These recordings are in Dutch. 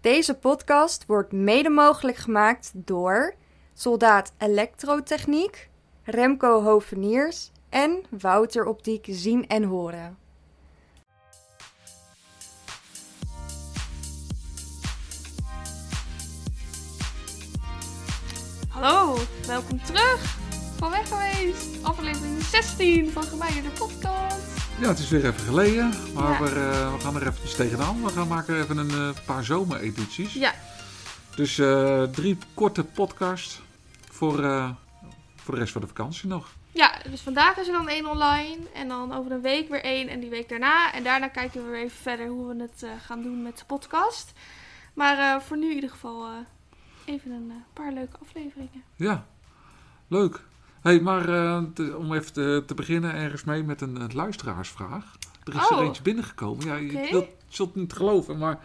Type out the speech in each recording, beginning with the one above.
Deze podcast wordt mede mogelijk gemaakt door Soldaat Elektrotechniek, Remco Hoveniers en Wouter Optiek Zien en Horen. Hallo, welkom terug van weg geweest. Aflevering 16 van Gemeierde Podcast. Ja, het is weer even geleden, maar Ja. we, eh, we gaan er eventjes tegenaan. We gaan maken even een eh, paar zomeredities. Ja, Dus eh, drie korte podcasts voor, eh, voor de rest van de vakantie nog. ja, dus vandaag is er dan één online en dan over een week weer één en die week daarna. En daarna kijken we weer even verder hoe we het eh, gaan doen met de podcast. Maar eh, voor nu in ieder geval eh, even een eh, paar leuke afleveringen. Ja, leuk. hey, maar eh, te- om even te, te beginnen ergens mee met een, eh, luisteraarsvraag. Er is Oh. er eentje binnengekomen. Ja, Oké. je wilt, zult het niet geloven, maar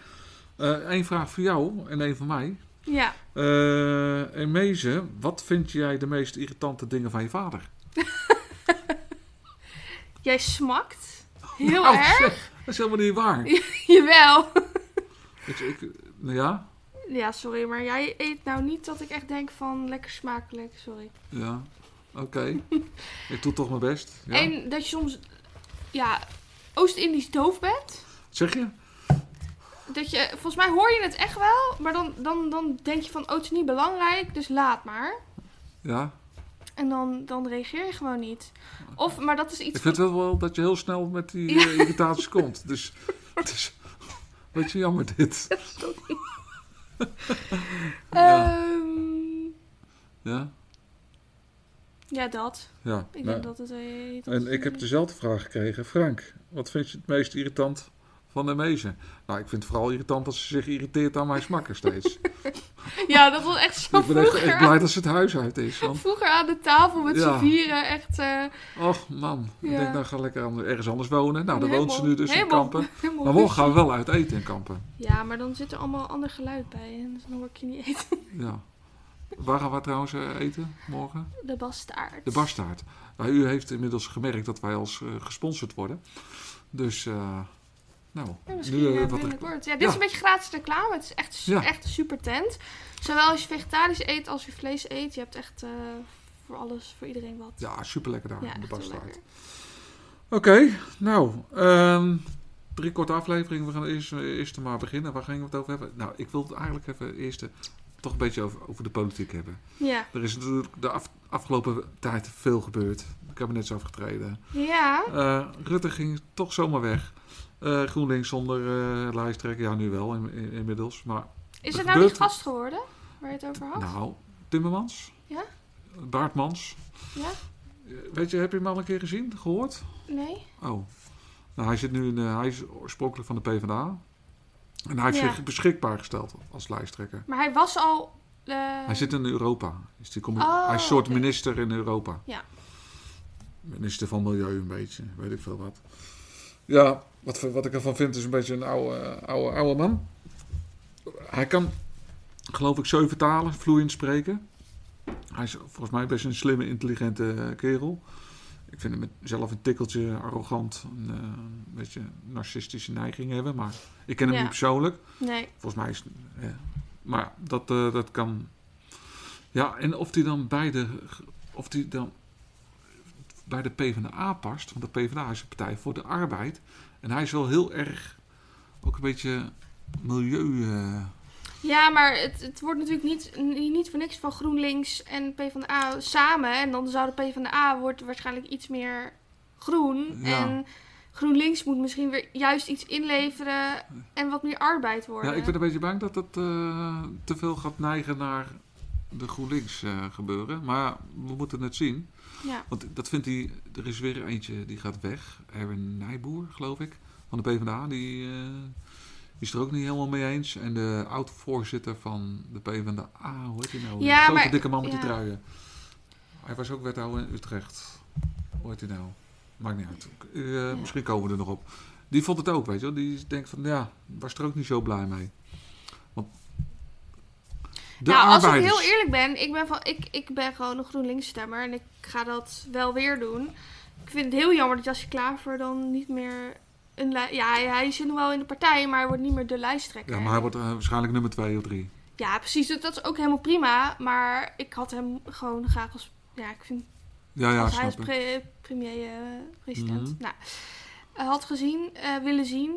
eh, één vraag voor jou en één voor mij. Ja, Eh en Mezen, wat vind jij de meest irritante dingen van je vader? jij smakt. Heel Nou, erg. zeg, dat is helemaal niet waar. Jawel. Ik, ik, nou ja, Ja, sorry, maar jij eet nou niet dat ik echt denk van lekker smakelijk, sorry. ja, oké. ik doe toch mijn best. Ja. En dat je soms, ja, Oost-Indisch doof bent. Zeg je? Dat je, volgens mij hoor je het echt wel, maar dan, dan, dan denk je van, oh, het is niet belangrijk, dus laat maar. Ja. En dan, dan reageer je gewoon niet. Of, maar dat is iets... Ik vind wel, wel dat je heel snel met die Ja. eh, irritaties komt. Dus het is een beetje jammer dit. ja. Ehm, ja, ja, dat. ja. Ik Nou, denk dat het... eh, dat En het- ik heb dus- dezelfde vraag gekregen. Frank, wat vind je het meest irritant van de mezen? Nou, ik vind het vooral irritant dat ze zich irriteert aan mijn smakken steeds. Ja, dat was echt zo ik ben echt, vroeger. echt blij dat ze het huis uit is. Want Vroeger aan de tafel met Ja. z'n vieren, echt... eh, Och man, Ja. ik denk nou ga lekker aan- ergens anders wonen. Nou, daar helemaal- woont ze nu dus helemaal- in Kampen. helemaal Maar morgen ruzie. gaan we wel uit eten in Kampen. Ja, maar dan zit er allemaal ander geluid bij en dus dan hoor ik je niet eten. Ja. Waar gaan we trouwens eh, eten morgen? De bastaard. De Bastaard. Nou, u heeft inmiddels gemerkt dat wij als eh, gesponsord worden. Dus, eh, nou. Ja, nu, misschien eh, eh, wat er- binnenkort. Ja, dit is Ja. een beetje gratis reclame. Het is echt, su- Ja. echt een super tent. Zowel als je vegetarisch eet als je vlees eet. Je hebt echt eh, voor alles, voor iedereen wat. ja, super lekker daar, Ja, de echt heel Bastaard. lekker. Oké, nou. ehm, drie korte afleveringen. We gaan eerst, eh, eerst maar beginnen. Waar gingen we het over hebben? Nou, ik wil het eigenlijk even eerst eh, toch een beetje over, over de politiek hebben. Ja. Er is natuurlijk de af- afgelopen tijd veel gebeurd. Het kabinet is afgetreden. Ja. Eh, Rutte ging toch zomaar weg. Eh, GroenLinks zonder eh lijsttrekker. Ja, nu wel in- in- inmiddels. Maar Is Er het nou die gebeurt- gast geworden? Waar je het over had? nou, Timmermans. Ja? Baartmans. Ja? Eh, Weet je, heb je hem al een keer gezien, gehoord? Nee? Oh. Nou, hij, zit nu in, eh, hij is oorspronkelijk van de PvdA. En hij heeft Ja. zich beschikbaar gesteld als lijsttrekker. Maar hij was al... eh, Hij zit in Europa. Dus die commu- Oh, hij is een soort oké. minister in Europa. Ja. Minister van Milieu een beetje, weet ik veel wat. Ja, wat, voor- wat ik ervan vind is een beetje een oude, eh, oude, oude man. Hij kan, geloof ik, zeven talen vloeiend spreken. Hij is volgens mij best een slimme, intelligente eh, kerel. Ik vind hem zelf een tikkeltje arrogant, een, eh, een beetje narcistische neiging hebben. Maar ik ken hem Ja. niet persoonlijk. Nee. Volgens mij is. Ja. Maar dat, eh, dat kan. Ja, en of die dan bij de. Of die dan bij de PvdA past. Want de PvdA is een partij voor de arbeid. En hij is wel heel erg. Ook een beetje milieu. eh, Ja, maar het, het wordt natuurlijk niet, n- niet voor niks van GroenLinks en PvdA samen. En dan zou de PvdA wordt waarschijnlijk iets meer groen. Ja. En GroenLinks moet misschien weer juist iets inleveren en wat meer arbeid worden. Ja, ik ben een beetje bang dat dat eh, te veel gaat neigen naar de GroenLinks eh, gebeuren. Maar ja, we moeten het zien. Ja. Want dat vindt hij. Er is weer eentje die gaat weg. Erwin Nijboer, geloof ik. Van de PvdA. Die, eh, die is er ook niet helemaal mee eens. En de oud-voorzitter van de PvdA. Hoe heet hij nou? Ja, de grote maar- dikke man met ja. die truien. Hij was ook wethouder in Utrecht. Hoe heet hij nou? Maakt niet uit. Eh, Ja. Misschien komen we er nog op. Die vond het ook, weet je wel. Die denkt van, ja, was er ook niet zo blij mee. Want de nou, als ik arbeiders... heel eerlijk ben, ik ben, van, ik, ik ben gewoon een GroenLinks stemmer en ik ga dat wel weer doen. Ik vind het heel jammer dat Jasje Klaver dan niet meer eh, een lij- ja, hij zit nog wel in de partij, maar hij wordt niet meer de lijsttrekker. Ja, maar hij wordt eh, waarschijnlijk nummer 2 of 3. Ja, precies. Dat dat is ook helemaal prima. Maar ik had hem gewoon graag als... Ja, ik vind Ja, ja, als hij als snap ik. pre- premier, eh, president. Mhm. Nou, eh, had gezien, eh, willen zien.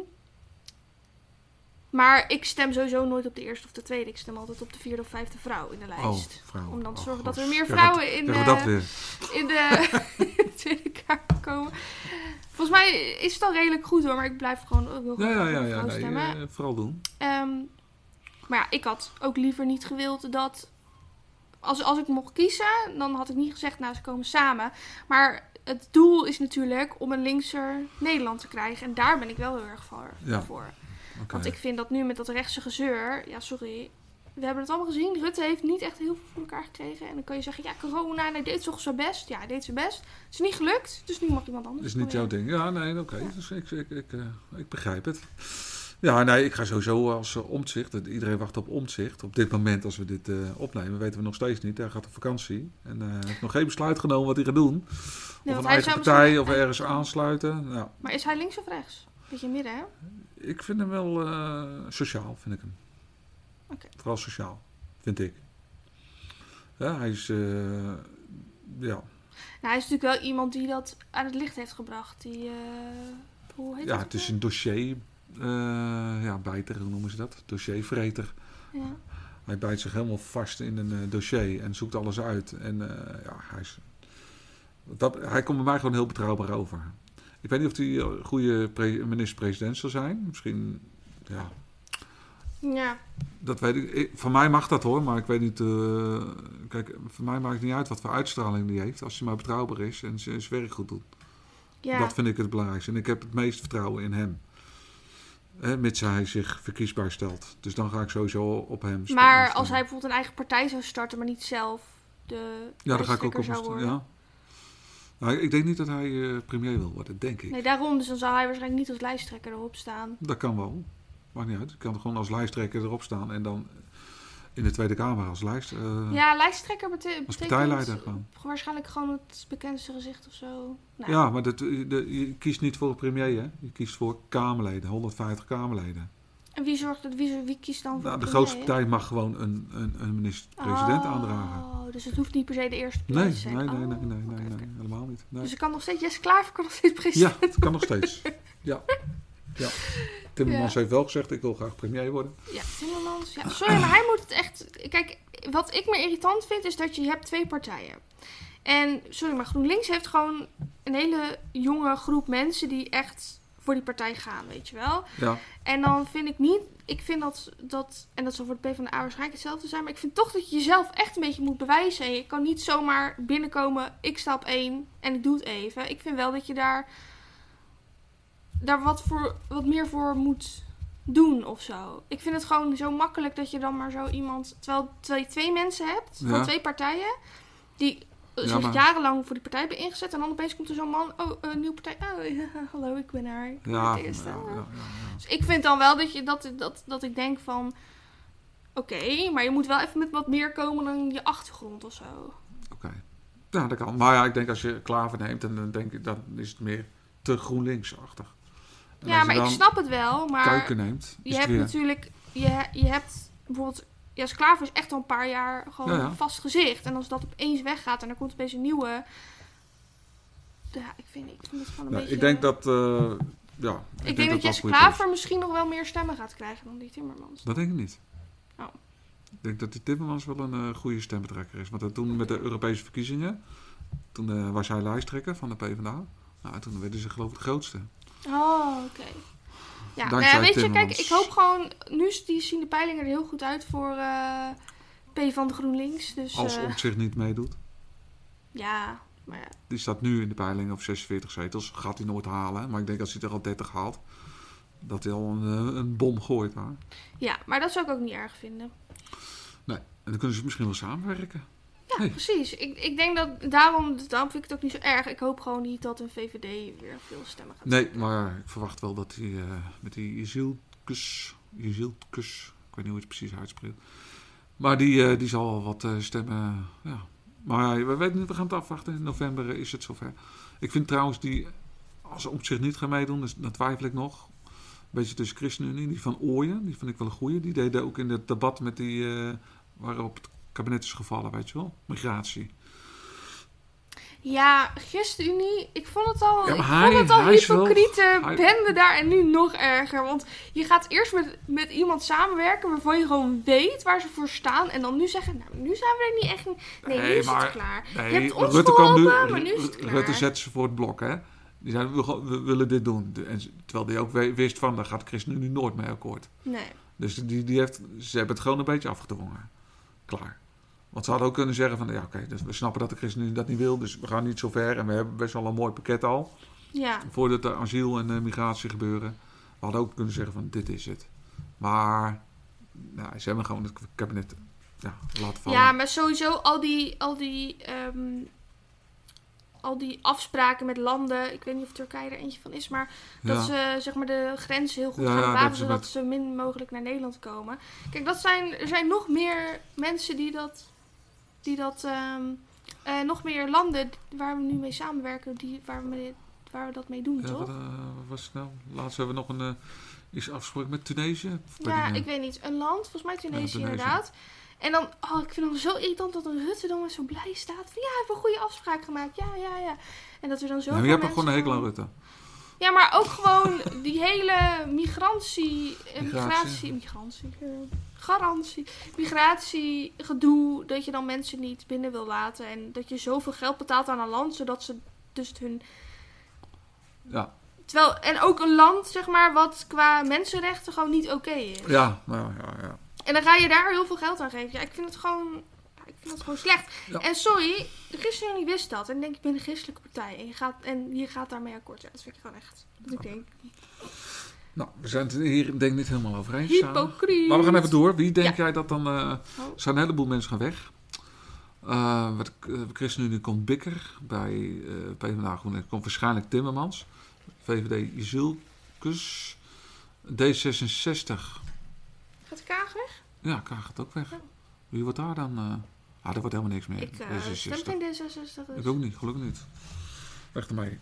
Maar ik stem sowieso nooit op de eerste of de tweede. Ik stem altijd op de vierde of vijfde vrouw in de Oh, lijst. vrouw. Om dan te Oh, zorgen goh, dat er meer zeggen we- vrouwen in, zeggen we eh, dat weer. in de Tweede Kamer komen. Volgens mij is het al redelijk goed hoor, maar ik blijf gewoon ook heel Ja, graag ja, op ja, een ja vrouw nee, stemmen. eh, vooral doen. Ehm, maar ja, ik had ook liever niet gewild dat. Als, als ik mocht kiezen, dan had ik niet gezegd, nou, ze komen samen. Maar het doel is natuurlijk om een linkser Nederland te krijgen. En daar ben ik wel heel erg voor. Ja. voor. Oké. Want ik vind dat nu met dat rechtse gezeur, ja, sorry. We hebben het allemaal gezien. Rutte heeft niet echt heel veel voor elkaar gekregen. En dan kan je zeggen, ja, corona, en hij deed toch zijn best. Ja, hij deed zijn best. Het is niet gelukt, dus nu mag iemand anders. is niet jouw proberen. ding. Ja, nee, oké. Dus ik, ik, ik, eh, ik begrijp het. Ja, nee, ik ga sowieso als eh, omzicht. Iedereen wacht op omzicht. Op dit moment, als we dit eh, opnemen, weten we nog steeds niet. Hij gaat op vakantie. En eh, hij heeft nog geen besluit genomen wat hij gaat doen. Nee, of Nou, want een hij eigen zou partij, misschien- of ergens aansluiten. Nou, Maar is hij links of rechts? Beetje midden, hè? ik vind hem wel eh, sociaal, vind ik hem. Oké. Vooral sociaal, vind ik. Ja, hij is... eh, ja, Nou, hij is natuurlijk wel iemand die dat aan het licht heeft gebracht. Die, eh, hoe heet ja, dat? het is een dossier... eh ja, bijter, hoe noemen ze dat? Dossiervreter. Ja. Hij bijt zich helemaal vast in een eh, dossier en zoekt alles uit. En eh, ja, hij, is, dat, hij komt bij mij gewoon heel betrouwbaar over. Ik weet niet of hij een goede pre- minister-president zal zijn. Misschien, ja, ja. dat weet ik. ik. Van mij mag dat hoor, maar ik weet niet. eh, kijk, voor mij maakt het niet uit wat voor uitstraling die heeft. Als hij maar betrouwbaar is en zijn zijn werk goed doet. Ja. Dat vind ik het belangrijkste. En ik heb het meeste vertrouwen in hem. Eh, mits hij zich verkiesbaar stelt. Dus dan ga ik sowieso op hem stemmen. maar als hij bijvoorbeeld een eigen partij zou starten, maar niet zelf de Ja, daar ga ik ook lijsttrekker op. zou stemmen, worden. Ja. Nou, ik denk niet dat hij eh, premier wil worden, denk ik. Nee, daarom. Dus dan zou hij waarschijnlijk niet als lijsttrekker erop staan. Dat kan wel. Maakt niet uit. Ik kan er gewoon als lijsttrekker erop staan en dan in de Tweede Kamer als lijst. eh, ja, lijsttrekker bete- betekent... als partijleider gaan. Waarschijnlijk gewoon het bekendste gezicht of zo. Nou, Ja, maar dat, eh, de, je kiest niet voor een premier, hè? Je kiest voor Kamerleden, 150 Kamerleden. En wie, zorgt, dat- wie, wie kiest dan voor Nou, de premier? grootste partij mag gewoon een, een, een minister-president oh, aandragen. dus het hoeft niet per se de eerste Nee, premier te nee, zijn. nee, Oh, nee, nee, nee, oké, nee, oké. helemaal niet. Nee. Dus ik kan nog steeds... Jesse Klaver kan nog steeds president Ja, het kan nog steeds. Ja. ja. Timmermans heeft wel gezegd, ik wil graag premier worden. Ja, Timmermans. Ja, sorry, maar hij moet het echt... Kijk, wat ik me irritant vind is dat je, je hebt twee partijen. En, sorry, maar GroenLinks heeft gewoon een hele jonge groep mensen die echt voor die partij gaan, weet je wel. Ja. En dan vind ik niet... Ik vind dat, dat en dat zal voor de PvdA waarschijnlijk hetzelfde zijn, maar ik vind toch dat je jezelf echt een beetje moet bewijzen. En je kan niet zomaar binnenkomen, ik sta op één en ik doe het even. Ik vind wel dat je daar, daar wat, voor, wat meer voor moet doen of zo. Ik vind het gewoon zo makkelijk dat je dan maar zo iemand... Terwijl, terwijl je twee mensen hebt van Ja. twee partijen... die eh, Ja, zich maar- jarenlang voor die partij hebben ingezet... en dan opeens komt er zo'n man... oh, een nieuwe partij... oh, ja, hallo, ik ben haar. Ik ben Ja, het eerste. ja, ja, ja, ja. Dus ik vind dan wel dat, je, dat, dat, dat ik denk van... oké, maar je moet wel even met wat meer komen dan je achtergrond of zo. Oké. Ja, dat kan. Maar ja, ik denk als je Klaver neemt, en dan, denk ik, dan is het meer te GroenLinks-achtig. En ja, als maar je ik dan snap het wel, maar... Kuiken neemt, je is het hebt weer... natuurlijk, je, he- je hebt bijvoorbeeld, Jas Klaver is echt al een paar jaar gewoon Ja, ja. een vast gezicht. En als dat opeens weggaat en er komt opeens een nieuwe, ja, ik vind, ik vind het gewoon een Nou, beetje... Ik denk dat... eh, ja, Ik denk dat Jesse wel goed is. Klaver misschien nog wel meer stemmen gaat krijgen dan die Timmermans. Dat denk ik niet. Oh. Ik denk dat die Timmermans wel een eh, goede stemmetrekker is. Want dat toen met de Europese verkiezingen, toen eh, was hij lijsttrekker van de PvdA. Nou, toen werden ze geloof ik de grootste. Oh, oké. Ja, nou Dankzij ja, weet je, kijk, Timmermans. ik hoop gewoon... Nu is- die zien de peilingen er heel goed uit voor eh, P van de GroenLinks. Dus Als eh, Omtzigt niet meedoet. ja, maar ja. Die staat nu in de peiling op 46 zetels. Gaat hij nooit halen. Maar ik denk als hij er al 30 haalt, dat hij al een, eh, een bom gooit daar. ja, maar dat zou ik ook niet erg vinden. En dan kunnen ze misschien wel samenwerken. Ja, Hey. precies. Ik, ik denk dat daarom, daarom vind ik het ook niet zo erg. Ik hoop gewoon niet dat een VVD weer veel stemmen gaat Nee, maar ik verwacht wel dat hij eh, met die Jezielkus, Jezielkus, ik weet niet hoe je het precies uitspreekt. Maar die, eh, die zal wel wat eh, stemmen, ja. Maar we weten niet, we gaan het afwachten. In november eh, is het zover. Ik vind trouwens die als ze op zich niet gaan meedoen, dus dan twijfel ik nog. Een beetje tussen ChristenUnie, die van Ooyen, die vind ik wel een goeie. Die deden ook in het debat met die, eh, waarop het kabinet is gevallen, weet je wel. Migratie. Ja, ChristenUnie, ik vond het al, Ja, maar ik hij- vond het al hij is wel- hypocriete hij- bende daar en nu nog erger. Want je gaat eerst met, met iemand samenwerken waarvan je gewoon weet waar ze voor staan. En dan nu zeggen, nou nu zijn we er niet echt... Nee, nu Nee, is maar- het klaar. Nee, je hebt ons Rutte kwam geholpen, nu, maar nu is het klaar. Rutte zet ze voor het blok, hè. Die zei, we, gaan- we willen dit doen. De- En, ze- terwijl die ook we- wist van, daar gaat ChristenUnie nooit mee akkoord. Nee. Dus die, die heeft, ze hebben het gewoon een beetje afgedwongen. Klaar. Want ze hadden ook kunnen zeggen van, ja oké, dus we snappen dat de ChristenUnie dat niet wil, dus we gaan niet zo ver. En we hebben best wel een mooi pakket al, Ja, voordat de asiel en eh, migratie gebeuren. We hadden ook kunnen zeggen van, dit is het. Maar, nou, ze hebben gewoon het kabinet ja, laten vallen. ja maar sowieso al die, al, die, ehm, al die afspraken met landen. Ik weet niet of Turkije er eentje van is, maar Ja. Dat ze zeg maar, de grenzen heel goed Ja, ja, gaan dat wapen, is zodat het. ze min mogelijk naar Nederland komen. Kijk, dat zijn, er zijn nog meer mensen die dat. Die dat ehm, eh, nog meer landen waar we nu mee samenwerken, die, waar, we mee- waar we dat mee doen, Ja, toch? wat, eh, wat was het nou? Laatst hebben we nog een eh, iets afgesproken met Tunesië. Of weet ja, ik niet. ik weet niet. Een land, volgens mij Tunesië, Tunesië. inderdaad. En dan, oh, ik vind het zo irritant dat een Rutte dan maar zo blij staat. Van, ja, we hebben een goede afspraak gemaakt. Ja, ja, ja. En dat er dan zo. Ja, maar je hebt toch gewoon een hekel aan Rutte? Ja, maar ook gewoon die hele migrantie, eh, Migratie. migratie, migrantie, eh, garantie, migratie gedoe, dat je dan mensen niet binnen wil laten en dat je zoveel geld betaalt aan een land, zodat ze dus hun, Ja, terwijl, en ook een land, zeg maar, wat qua mensenrechten gewoon niet oké is. ja, nou, ja, ja. En dan ga je daar heel veel geld aan geven. Ja, ik vind het gewoon, ja, ik vind het gewoon slecht. Ja. En sorry, de ChristenUnie wist dat en ik denk ik ben een christelijke partij en je gaat, en je gaat daarmee akkoord. Ja, dat vind ik gewoon echt, dat ik denk, Nou, we zijn het hier denk ik niet helemaal over eens. samen. hypocriet. Oh. Maar we gaan even door. Wie denk jij dat dan... eh, er zijn een heleboel mensen gaan weg. Eh wat, eh, ChristenUnie komt Bikker. Bij eh PvdA GroenLinks komt waarschijnlijk Timmermans. VVD Zulkus. D66. Gaat Kaag weg? Ja, Kaag gaat ook weg. Ja. Wie wordt daar dan? eh? Ah, daar wordt helemaal niks meer. Dus Ik eh, D66. stem geen D66. Ik ook niet, gelukkig niet. Echt ermee.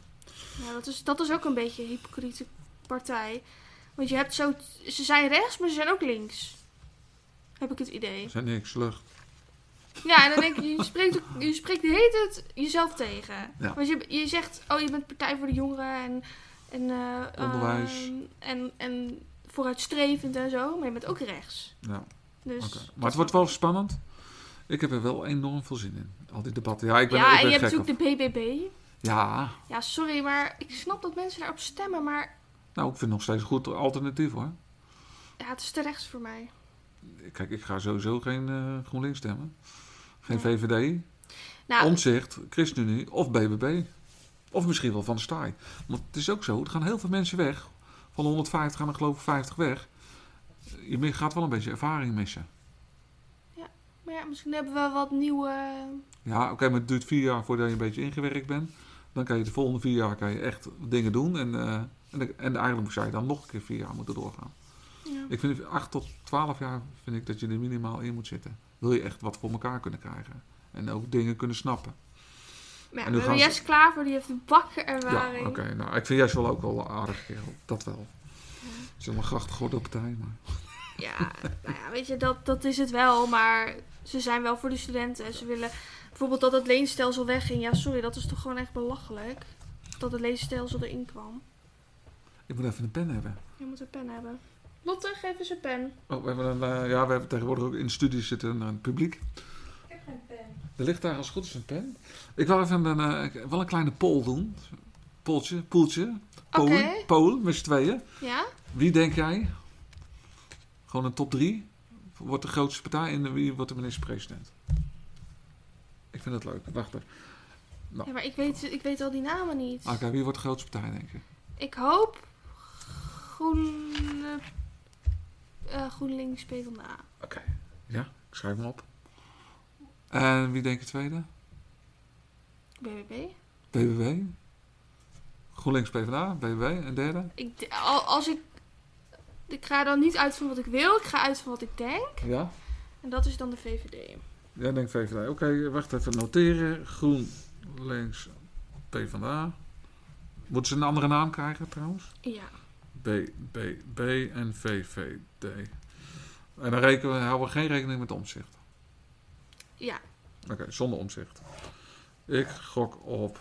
Ja, dat, is, dat is ook een beetje een hypocriete partij. Want je hebt zo... Ze zijn rechts, maar ze zijn ook links. Heb ik het idee. Er zijn niks, lucht. Ja, en dan denk ik, je spreekt, ook- je spreekt de hele tijd jezelf tegen. Ja. Want je, je zegt, oh, je bent Partij voor de Jongeren en... en eh, Onderwijs. ehm, en, en vooruitstrevend en zo, maar je bent ook rechts. Ja, Dus... oké. dat Maar het is- wordt wel spannend. Ik heb er wel enorm veel zin in. Al die debatten. Ja, ik ben, ja, ik en ben je hebt gek op. natuurlijk de BBB. Ja, Ja, sorry, maar ik snap dat mensen daarop stemmen, maar nou, ik vind het nog steeds een goed alternatief hoor. ja, het is te rechts voor mij. Kijk, ik ga sowieso geen eh, GroenLinks stemmen. Geen Nee. VVD, Nou, Omzicht, ChristenUnie of BBB. Of misschien wel Van Staaij. Want het is ook zo, er gaan heel veel mensen weg. Van de 150 gaan er geloof ik 50 weg. Je gaat wel een beetje ervaring missen. Maar ja, misschien hebben we wat nieuwe. eh, Ja, oké, maar het duurt vier jaar voordat je een beetje ingewerkt bent. Dan kan je de volgende vier jaar kan je echt dingen doen. En, eh, en, de- en eigenlijk zou je dan nog een keer vier jaar moeten doorgaan. Ja. Ik vind acht tot twaalf jaar vind ik dat je er minimaal in moet zitten. Wil je echt wat voor elkaar kunnen krijgen. En ook dingen kunnen snappen. Maar ja, En nu we hebben gaan ze- Jesse Klaver, die heeft een bakken Ja, ervaring. oké. nou, ik vind juist wel ook wel een aardige kerel. Dat wel. Het is helemaal gracht gordelpartij, maar... Ja, nou ja, weet je, dat, dat is het wel. Maar ze zijn wel voor de studenten. En ze willen bijvoorbeeld dat het leenstelsel wegging. Ja, sorry, dat is toch gewoon echt belachelijk. Dat het leenstelsel erin kwam. Ik moet even een pen hebben. Je moet een pen hebben. Lotte, geef eens een pen. Oh, we hebben een... eh, ja, we hebben tegenwoordig ook in de studie zitten een, een publiek. Ik heb geen pen. Er ligt daar als het goed is een pen. Ik wil even een, eh, wel een kleine poll doen. Poltje, poeltje. Polen, Oké. Polen, met z'n tweeën. Ja? Wie denk jij? Gewoon een top drie. Wordt de grootste partij en wie wordt de minister-president? Ik vind dat leuk. Wacht even. Ja, maar ik weet, ik weet al die namen niet. Nou. Ah, Oké, wie wordt de grootste partij, denk je? Ik hoop groen, eh GroenLinks PvdA. Oké. Ja, ik schrijf hem op. En wie denk je tweede? BBB. BBB. GroenLinks PvdA, BBB. En derde? Ik, d- al- als ik, ik ga dan niet uit van wat ik wil, ik ga uit van wat ik denk. Ja. En dat is dan de VVD. Jij denkt VVD. Oké, wacht even. Noteren. GroenLinks PvdA. Moeten ze een andere naam krijgen trouwens? Ja. B, B, B en V, V, D. En dan rekenen we, houden we geen rekening met omzicht. Ja. Oké, zonder omzicht. Ik gok op.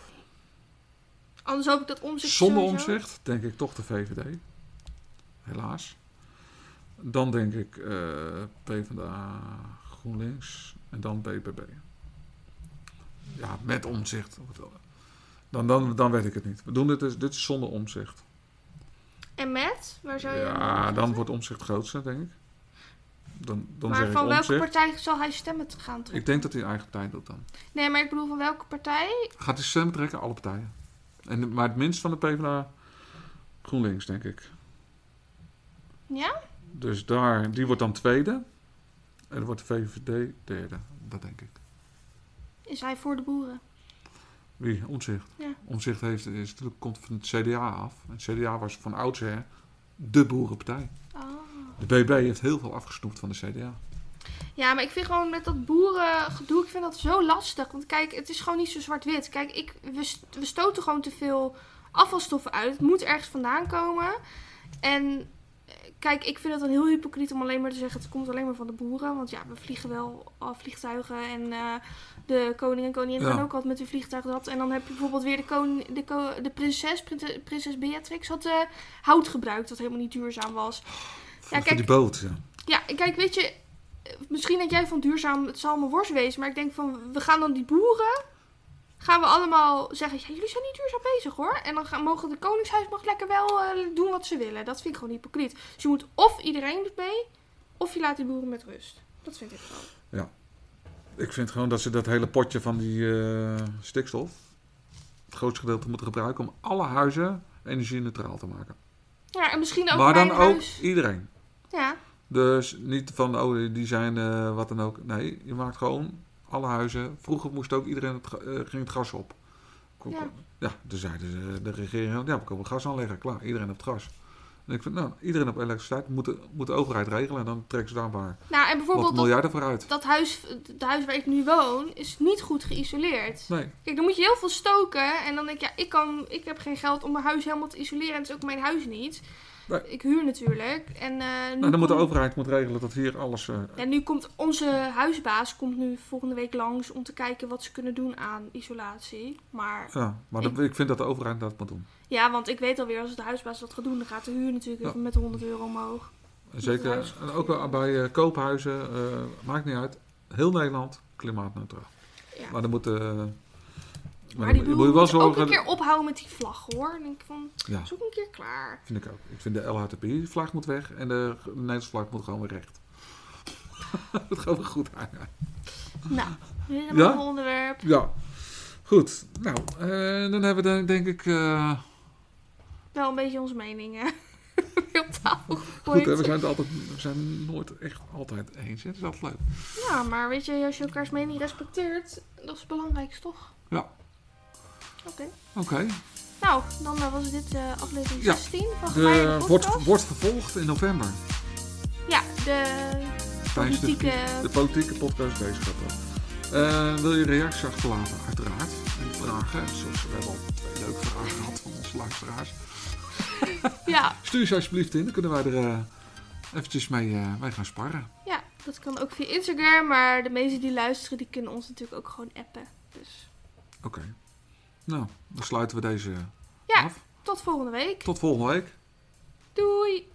Anders hoop ik dat omzicht Zonder sowieso- omzicht denk ik toch de VVD. Helaas. Dan denk ik eh PvdA GroenLinks en dan BBB. Ja, met omzicht. Dan, dan, dan weet ik het niet. We doen dit, dus- dit is zonder omzicht. En met? Waar zou je... Ja, dan wordt omzicht grootste, denk ik. Dan, dan zeg maar ik van welke omzicht. partij zal hij stemmen te gaan trekken? Ik denk dat hij eigen partij doet dan. Nee, maar ik bedoel van welke partij? Gaat hij stemmen trekken? Alle partijen. En, maar het minst van de PvdA GroenLinks, denk ik. Ja? Dus daar, die wordt dan tweede. En dan wordt de VVD derde. Dat denk ik. Is hij voor de boeren? Wie? Omzicht. Ja. Omzicht heeft, is natuurlijk, komt van het CDA af. En het CDA was van oudsher de boerenpartij. Oh. De BB heeft heel veel afgesnoept van de CDA. Ja, maar ik vind gewoon met dat boerengedoe, ik vind dat zo lastig. Want kijk, het is gewoon niet zo zwart-wit. Kijk, ik, we, st- we stoten gewoon te veel afvalstoffen uit. Het moet ergens vandaan komen. En eh, kijk, ik vind het dan heel hypocriet om alleen maar te zeggen... het komt alleen maar van de boeren. Want ja, we vliegen wel al vliegtuigen. En eh, de koning en koningin Ja. gaan ook altijd met hun vliegtuig dat. En dan heb je bijvoorbeeld weer de, koning, de, ko- de prinses, printe- prinses Beatrix... had eh, hout gebruikt dat helemaal niet duurzaam was. Voor, voor kijk, die boot, ja. Ja, kijk, weet je, eh, misschien dat jij van duurzaam het zal mijn worst wezen, maar ik denk van, we gaan dan die boeren, gaan we allemaal zeggen, ja, jullie zijn niet duurzaam bezig hoor. En dan gaan, mogen de koningshuis mag lekker wel eh, doen wat ze willen. Dat vind ik gewoon hypocriet. Dus je moet of iedereen doet mee, of je laat die boeren met rust. Dat vind ik gewoon. Ik vind gewoon dat ze dat hele potje van die eh, stikstof... het grootste gedeelte moeten gebruiken... om alle huizen energie-neutraal te maken. Ja, en misschien ook maar dan Nou, mijn ook huis. iedereen. Ja, Dus niet van, oh, die zijn eh, wat dan ook. Nee, je maakt gewoon alle huizen. Vroeger moest ook iedereen het, ga- eh, ging het gas op. Kon- Ja. kon- ja, toen zeiden ze, eh, de regering, ja, we komen gas aanleggen. Klaar, iedereen op het gas. En ik vind, nou, iedereen op elektriciteit moet de, moet de overheid regelen. En dan trekken ze daar maar nou en wat bijvoorbeeld dat, miljarden voor uit. dat huis, het huis waar ik nu woon, is niet goed geïsoleerd. Nee, Kijk, dan moet je heel veel stoken. En dan denk ik, ja, ik, kan, ik heb geen geld om mijn huis helemaal te isoleren. En het is ook mijn huis niet. Nee. Ik huur natuurlijk. En, eh, nu nou, dan moet de komt- overheid moet regelen dat hier alles... eh, En nu komt onze huisbaas komt nu volgende week langs om te kijken wat ze kunnen doen aan isolatie. Maar ja, maar dat- ik vind dat de overheid dat moet doen. ja, want ik weet alweer als de huisbaas dat gaat doen, dan gaat de huur natuurlijk Ja. even met 100 euro omhoog. Zeker, en ook wel bij eh, koophuizen, eh, maakt niet uit. Heel Nederland klimaatneutraal. Ja. Maar dan moet... eh, maar Maar dan die moet- je boeren moet wel moeten ook zorgen... een keer ophouden met die vlag hoor. Dan denk ik van, Ja, zoek een keer klaar. vind ik ook. Ik vind de LHTP-vlag moet weg en de Nederlandse vlag moet gewoon weer recht. Dat gaat gewoon weer goed aan. Nou, weer een Ja? ander onderwerp. Ja, goed. Nou, eh, dan hebben we dan, denk ik... eh, Wel een beetje onze meningen weer op tafel goed, gegooid. hè, we, zijn het altijd, we zijn het nooit echt altijd eens. Hè? Dat is altijd leuk. Ja, maar weet je, als je elkaars mening respecteert, dat is het belangrijkste, toch? Ja. Oké. Oké, Nou, dan eh, was dit eh, aflevering Ja. 16 van Gevaar in de de wordt, Podcast. wordt vervolgd in november. Ja, de Tijdens de- politieke... De politieke podcast wetenschappen. Eh, wil je reacties achterlaten? Uiteraard. En vragen. Zoals we hebben al twee leuke vragen gehad van onze luisteraars. Ja, Stuur ze alsjeblieft in. Dan kunnen wij er eh, eventjes mee, eh, mee gaan sparren. ja, dat kan ook via Instagram, maar de meesten die luisteren, die kunnen ons natuurlijk ook gewoon appen. Dus Oké. Nou, dan sluiten we deze Ja. af. tot volgende week. Tot volgende week. Doei!